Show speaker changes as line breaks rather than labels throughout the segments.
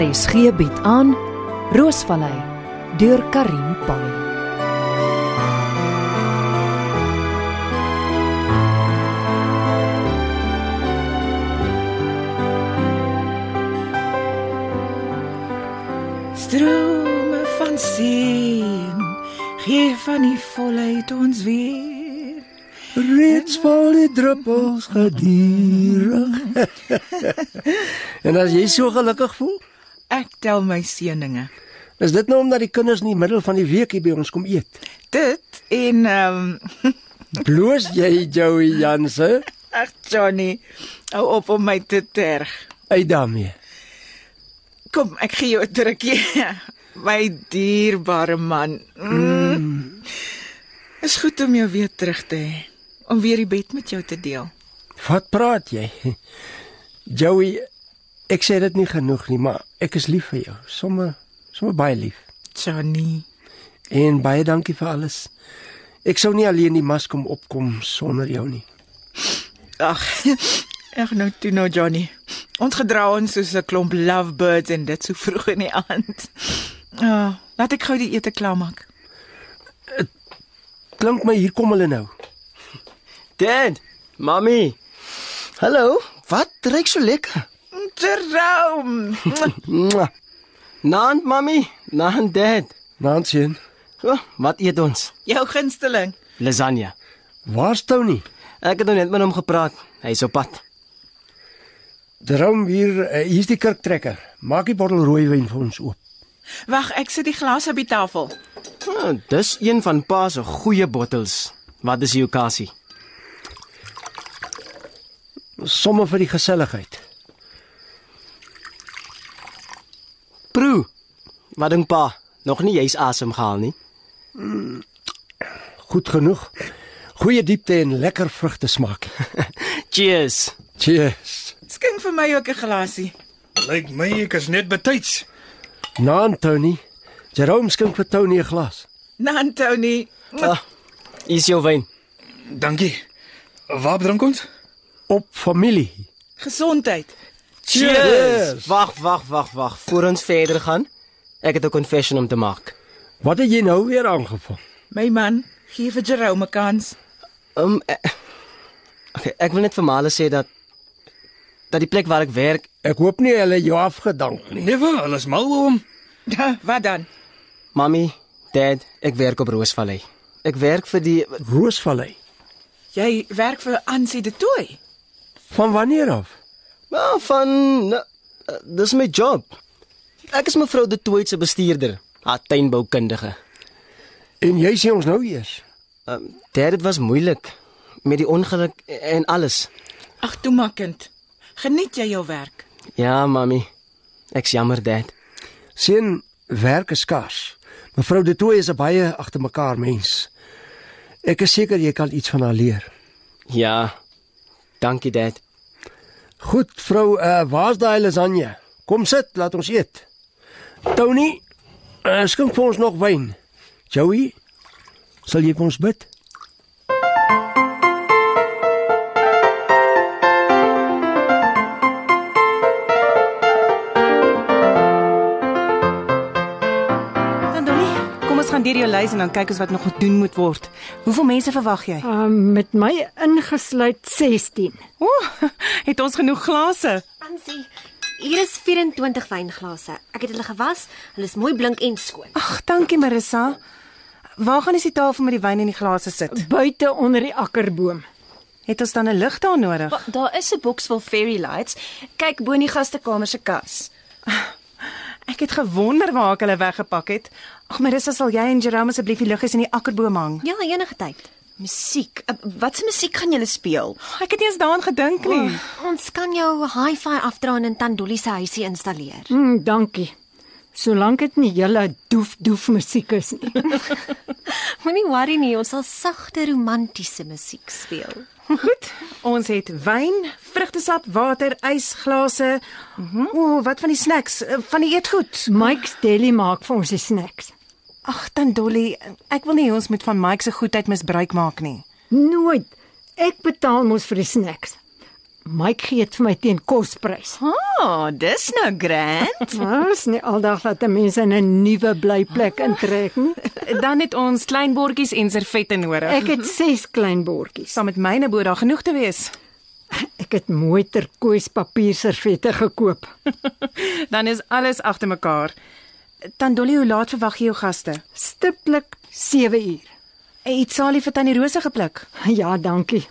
RSG bied aan Roosvallei deur Karin Pan.
Strome van seën, gee van die volheid ons weer.
Reeds val die druppels gedurig. en as jy so gelukkig voel,
Ek tel my seëninge.
is dit nou omdat die kinders in die middel van die week hier by ons kom eet.
Dit en ehm um,
Bloos jy Joey Janse
ag Johnny, hou op om my te terg.
uit daarmee.
Kom, ek gee jou 'n drukkie. My dierbare man. Mm. Is goed om jou weer terug te hê. Om weer die bed met jou te deel.
Wat praat jy? Joey, ek sê dit nie genoeg nie, maar ek is lief vir jou. Somme somme baie lief.
Johnny,
En baie dankie vir alles. Ek sou nie alleen die mas kom opkom sonder jou nie.
Ag. Ag nou toe nou Johnny. Ons gedra ons soos 'n klomp lovebirds en dit so vroeg in die aand. Ah, oh, laat ek gou die ete klaarmaak.
Klink my hier kom hulle nou.
Dad, mami. Hallo, wat reuk so lekker?
Droom.
Mwah. Naand mami, naand dad.
Nansen,
Oh, wat eet ons?
Jou gunsteling.
Lasagne.
waar's Tony?
Ek het nou net met hom gepraat. Hy's op pad.
Droom hier, eh, hier's die kurktrekker. Maak die bottel rooi wyn vir ons oop.
Wag, ek sit die glas op die tafel.
Oh, dis een van pa se goeie bottels. Wat is die okasie?
Somme vir die geselligheid.
Proe. Wat dink pa? Nog nie jy's asem gehaal nie.
Goed genoeg. Goeie diepte en lekker vrugte smaak.
Cheers.
Cheers.
Skink vir my ook 'n glasie.
Lyk my ek is net betyds.
Naan Tony. Jerome skink vir Tony 'n glas.
Nan Tony.
Ah, is jou wyn.
Dankie. Waar drink ons?
Op familie.
Gesondheid.
Cheers.
Wag, wag, wag, wag. Voor ons verder gaan, ek het 'n confession om te maak.
Wat het jy nou weer aangevang?
My man, gee vir Jerome 'n kans.
Ehm um, okay, ek wil net vir Male sê dat dat die plek waar ek werk,
Ek hoop nie hulle jou afgedank nie.
Nee, wa, alles mal oor hom.
Ah, Wat dan?
mami, dad, ek werk op Roosvallei. Ek werk vir die
Roosvallei.
Jy werk vir Ansie de Tooi.
Van wanneer af?
well, van uh, dis my job. Ek is mevrou De Tooy se bestuurder, haar tuinboukundige.
En jy sê ons nou eers.
Ehm um, dad, dit was moeilik met die ongeluk en alles.
Ag toe maar kind. Geniet jy jou werk?
Ja, mami. Ek's jammer, dad.
Seun werk is skaars. Mevrou De Tooy is 'n baie agter mekaar mens. Ek is seker jy kan iets van haar leer.
Ja. Dankie, dad.
Goed, vrou, uh, waar's daai lasagne? Kom sit, laat ons eet. Tony, uh, skink vir ons nog wyn. Joey, sal jy vir ons bid?
Dan Donnie, Nee, kom ons gaan deur jou lys en dan kyk ons wat nog gedoen moet word. Hoeveel mense verwag jy?
Uh, met my ingesluit 16.
O, oh, het ons genoeg glase?
Ansie, hier is 24 wynglase. Ek het hulle gewas. Hulle is mooi blink en skoon.
Ag, dankie Marissa. Waar gaan ons die tafel met die wyn en die glase sit?
Buite onder die akkerboom.
Het ons dan 'n lig daar nodig?
Daar is 'n boks vol fairy lights. Kyk bo in die gastekamer se kas.
Ek het gewonder waar ek hulle weggepak het. Ag Marissa, sal jy en Jerome asseblief die liggies in die akkerboom hang?
Ja, enige tyd.
Musiek. Uh, Wat se musiek gaan julle speel?
Ek het nie eens daaraan gedink nie. Oh.
Ons kan jou hi-fi afdraan in Tandoli se huisie installeer.
Mm, dankie. Solank dit nie julle doef doef musiek is nie.
Moenie worry nie, ons sal sagte romantiese musiek speel.
Goed, ons het wyn, vrugtesap, water, ys, glase. Mm -hmm. O, wat van die snacks, eh, van die eetgoed?
Mike's Deli maak vir ons die snacks.
Ag, dan Dolly, ek wil nie hê ons moet van Mike se goedheid misbruik maak nie.
Nooit. Ek betaal mos vir die snacks. Mike gee dit vir my teen kosprys.
Ah, dis nou grand.
Ons nie Nee, aldag laat mense in 'n nuwe blyplek intrek nie.
Dan het ons klein bordjies en servette nodig.
Ek het 6 klein bordjies.
Mhm. saam met myne bo daar genoeg te wees.
Ek het mooi turkoois papierservette gekoop.
Dan is alles agter mekaar. Tandolly, hoe laat verwag jy jou gaste?
Stiptelik 7 uur.
Het Salie vir Tannie Rose gepluk?
Ja, dankie.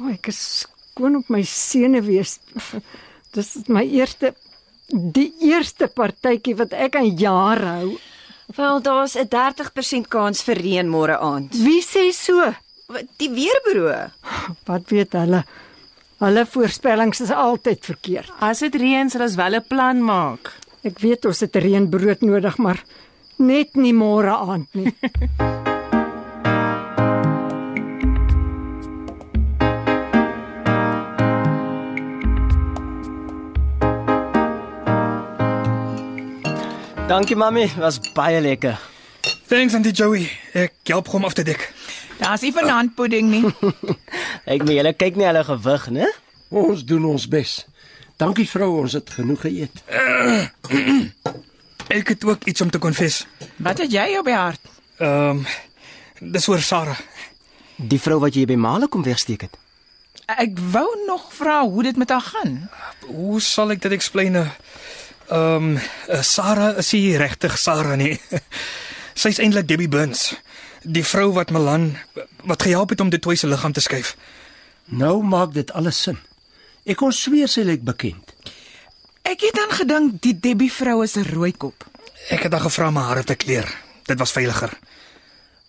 O, ek is skoon op my senuwees. Dis my eerste die eerste partytjie wat ek aan jare hou.
Wel, daar's 'n 30% kans vir reën môre aand.
Wie sê so?
Wat, Die weerbureau.
Wat weet hulle? Hulle voorspellings is altyd verkeerd.
As dit reën, sal ons wel 'n plan maak.
Ek weet ons het reënbrood nodig, maar net nie môre aand nie.
Dankie mami, was baie lekker.
Thanks Auntie Joey. Ek help hom af te dik.
Daar's nie vanaand pudding nie.
Ek meen julle kyk nie hulle gewig, né?
Ons doen ons bes. Dankie vrou, ons het genoeg geëet.
Ek het ook iets om te confess.
Wat het jy op die hart?
Ehm um, dis oor Sarah.
Die vrou wat jy by Male kom wegsteek het.
Ek wou nog vra hoe dit met haar gaan.
Hoe sal ek dit explain? eh? Ehm um, Sarah is nie regtig Sarah nie. Sy's eintlik Debbie Burns, die vrou wat Milan wat gehelp het om dit twee se liggaam te skuif.
Nou maak dit alles sin. Ek kon sweer sy lyk bekend.
Ek het dan gedink die Debbie vrou is 'n rooikop.
Ek het haar gevra my hare te kleer. Dit was veiliger.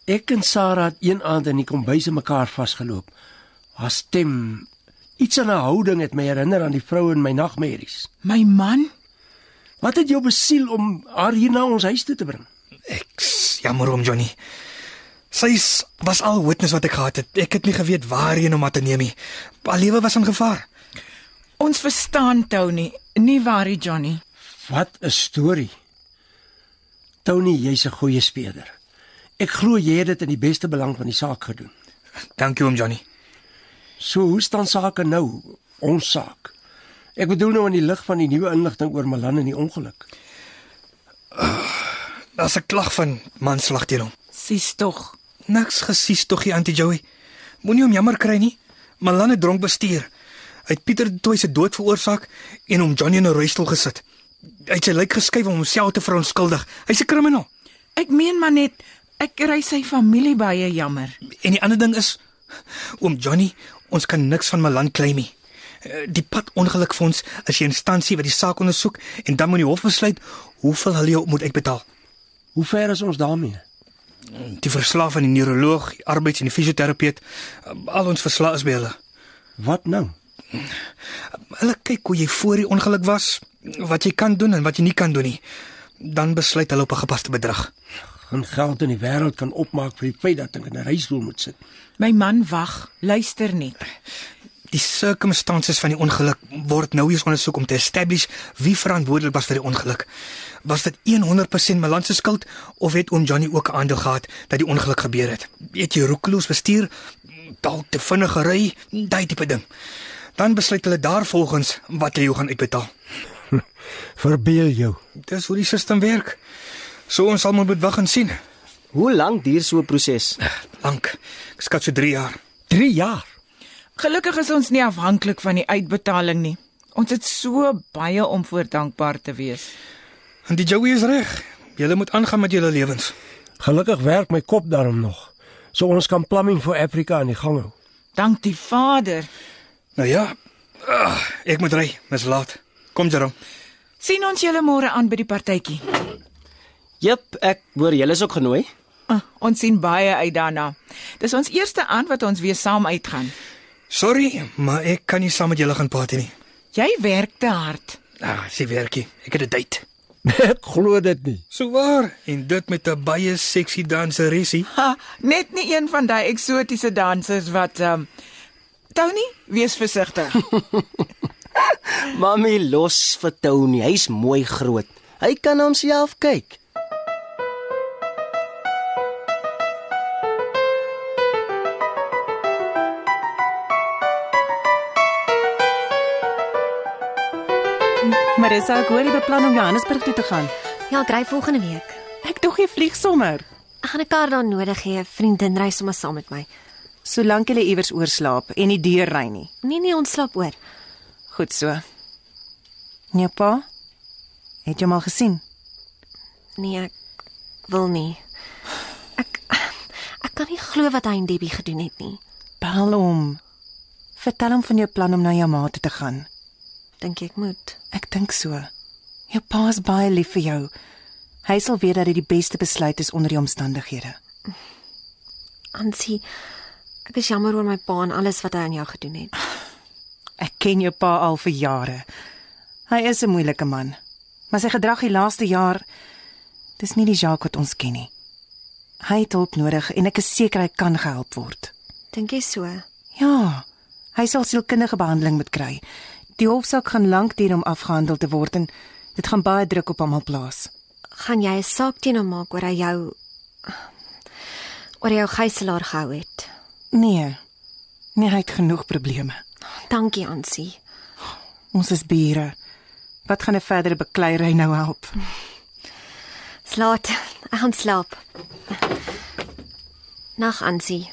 Ek en Sarah het een aand in die kombuis aan mekaar vasgeloop. Haar stem, iets aan haar houding het my herinner aan die vrou in my nagmerries.
My man,
Wat het jou besiel om haar hier na ons huis toe te bring?
Ek s- jammer om Johnny. Sy s- was al witness wat ek gehad het. Ek het nie geweet waarheen om haar te neem nie. Haar lewe was in gevaar.
ons verstaan Tony, nie waar nie Johnny.
Wat 'n storie. Tony, jy's 'n goeie speler. Ek glo jy het dit in die beste belang van die saak gedoen.
Dankie om Johnny.
So hoe staan sake nou? Ons saak. Ek bedoel nou in die lig van die nuwe inligting oor Malan en die ongeluk.
Daar's 'n klag van manslag teen hom.
Sies tog.
Niks gesies tog hier Auntie Joey. Moenie hom jammer kry nie. Malan het dronk bestuur. Hy het Pieter de Tooy se dood veroorsaak en hom Johnny in 'n rolstoel gesit. Hy het sy lyk geskuif om homself te verontskuldig. Hy's 'n kriminaal.
Ek meen maar net ek ry sy familie baie jammer.
En die ander ding is oom Johnny, ons kan niks van Malan claim nie. Eh, Die pad ongelukfonds is 'n instansie wat die saak ondersoek en dan moet die hof besluit hoeveel hulle jou moet uitbetaal.
Hoe ver is ons daarmee?
Die verslag van die neuroloog, die arbeids- en die fisioterapeut, eh, al ons verslae is by hulle.
Wat nou?
Hulle kyk hoe jy voor die ongeluk was, wat jy kan doen en wat jy nie kan doen nie. Dan besluit hulle op 'n gepaste bedrag.
Geen geld in die wêreld kan opmaak vir die feit dat ek in 'n reisdoel moet sit.
My man wag, luister net.
Die circumstances van die ongeluk word nou eens ondersoek om te establish wie verantwoordelik was vir die ongeluk. Was dit 100% Malan se skuld of het oom Johnny ook 'n aandeel gehad dat die ongeluk gebeur het? Het jy roekeloos bestuur, dalk te vinnig gery, daai tipe ding. Dan besluit hulle daarvolgens wat hulle jou gaan uitbetaal.
Verbeel jou.
Dis hoe die stelsel werk. So ons sal maar moet wag en sien.
Hoe lank duur so 'n proses?
Lank. Ek skat so 3 jaar.
3 jaar.
Gelukkig is ons nie afhanklik van die uitbetaling nie. Ons het so baie om voor dankbaar te wees.
En die Joey is reg. Julle moet aangaan met julle lewens.
Gelukkig werk my kop daarom nog. So ons kan Plumbing for Africa aan die gang hou.
Dank die Vader.
Nou ja. Ugh, ek moet ry. Dis laat. Kom Jerome.
sien ons julle môre aan by die partytjie.
Jep, ek hoor julle is ook genooi.
Ah, ons sien baie uit daarna. Dis ons eerste aand wat ons weer saam uitgaan.
Sorry, maar ek kan nie saam met julle gaan party nie.
Jy werk te hard.
Ah, sy werkie. Ek het 'n date.
Ek glo dit nie.
So waar? En dit met 'n baie sexy danseresie.
Ha, net nie een van daai eksotiese dansers wat ehm um, Tony, wees versigtig.
Mamy los vir Tony, hy's mooi groot. Hy kan na homself kyk.
Marissa, ek hoor jy beplan om Johannesburg toe te gaan.
Ja, ek ry volgende week.
Ek dog jy vlieg sommer.
Ek gaan 'n kar daar nodig hê. 'n Vriendin ry sommer saam met my.
Solank jy iewers oorslaap en nie deur ry nie.
Nee nee, ons slaap oor.
Goed so. En Jou pa? Het jy hom al gesien?
Nee, ek wil nie. Ek ek kan nie glo wat hy en Debbie gedoen het nie.
Bel hom. Vertel hom van jou plan om na jou ma toe te gaan.
Dink jy ek moet?
Ek dink so. Jou pa is baie lief vir jou. Hy sal weet dat dit die beste besluit is onder die omstandighede.
Ansie, ek is jammer oor my pa en alles wat hy aan jou gedoen het.
Ek ken jou pa al vir jare. Hy is 'n moeilike man. Maar sy gedrag die laaste jaar dis nie die Jacques wat ons ken nie. Hy het hulp nodig en ek is seker hy kan gehelp word.
Dink jy so?
Ja, hy sal sielkundige behandeling moet kry. Die hofsaak gaan lank duur om afgehandel te word en dit gaan baie druk op hom al plaas.
Gaan jy 'n saak teen hom maak oor hy jou oor hy jou gijslaer gehou het?
Nee. Nee, hy het genoeg probleme.
Dankie, Ansie.
Ons is bure. Wat gaan 'n verdere bekleierery nou help?
Slaat, ek gaan slaap. Nag, Ansie.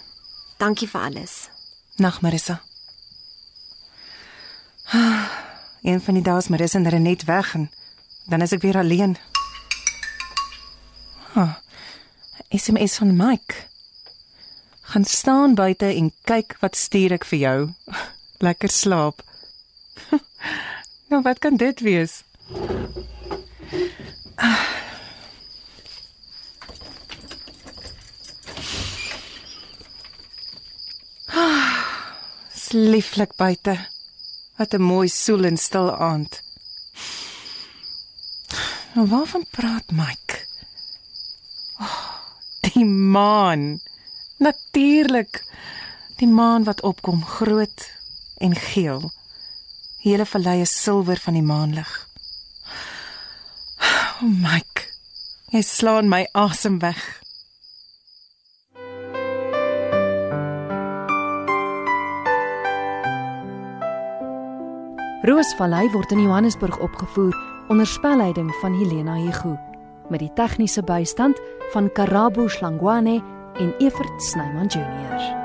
Dankie vir alles.
Nag, Marissa. Ah, Een van die dae is Marissa en Renet weg en dan is ek weer alleen. Ah, SMS van Mike. Gaan staan buite en kyk wat stuur ek vir jou. Lekker slaap. nou wat kan dit wees? Ah. Ah, is lieflik buite. Wat 'n mooi soel en stil aand. Nou waarvan praat Mike? Oh, die maan. Natuurlik. Die maan wat opkom, groot en geel. Die hele vallei is silwer van die maanlig. Oh, Mike. Jy slaan my asem weg.
Roosvallei word in Johannesburg opgevoer onder spelleiding van Helena Hugo met die tegniese bystand van Karabo Slangwane en Evert Snyman Junior.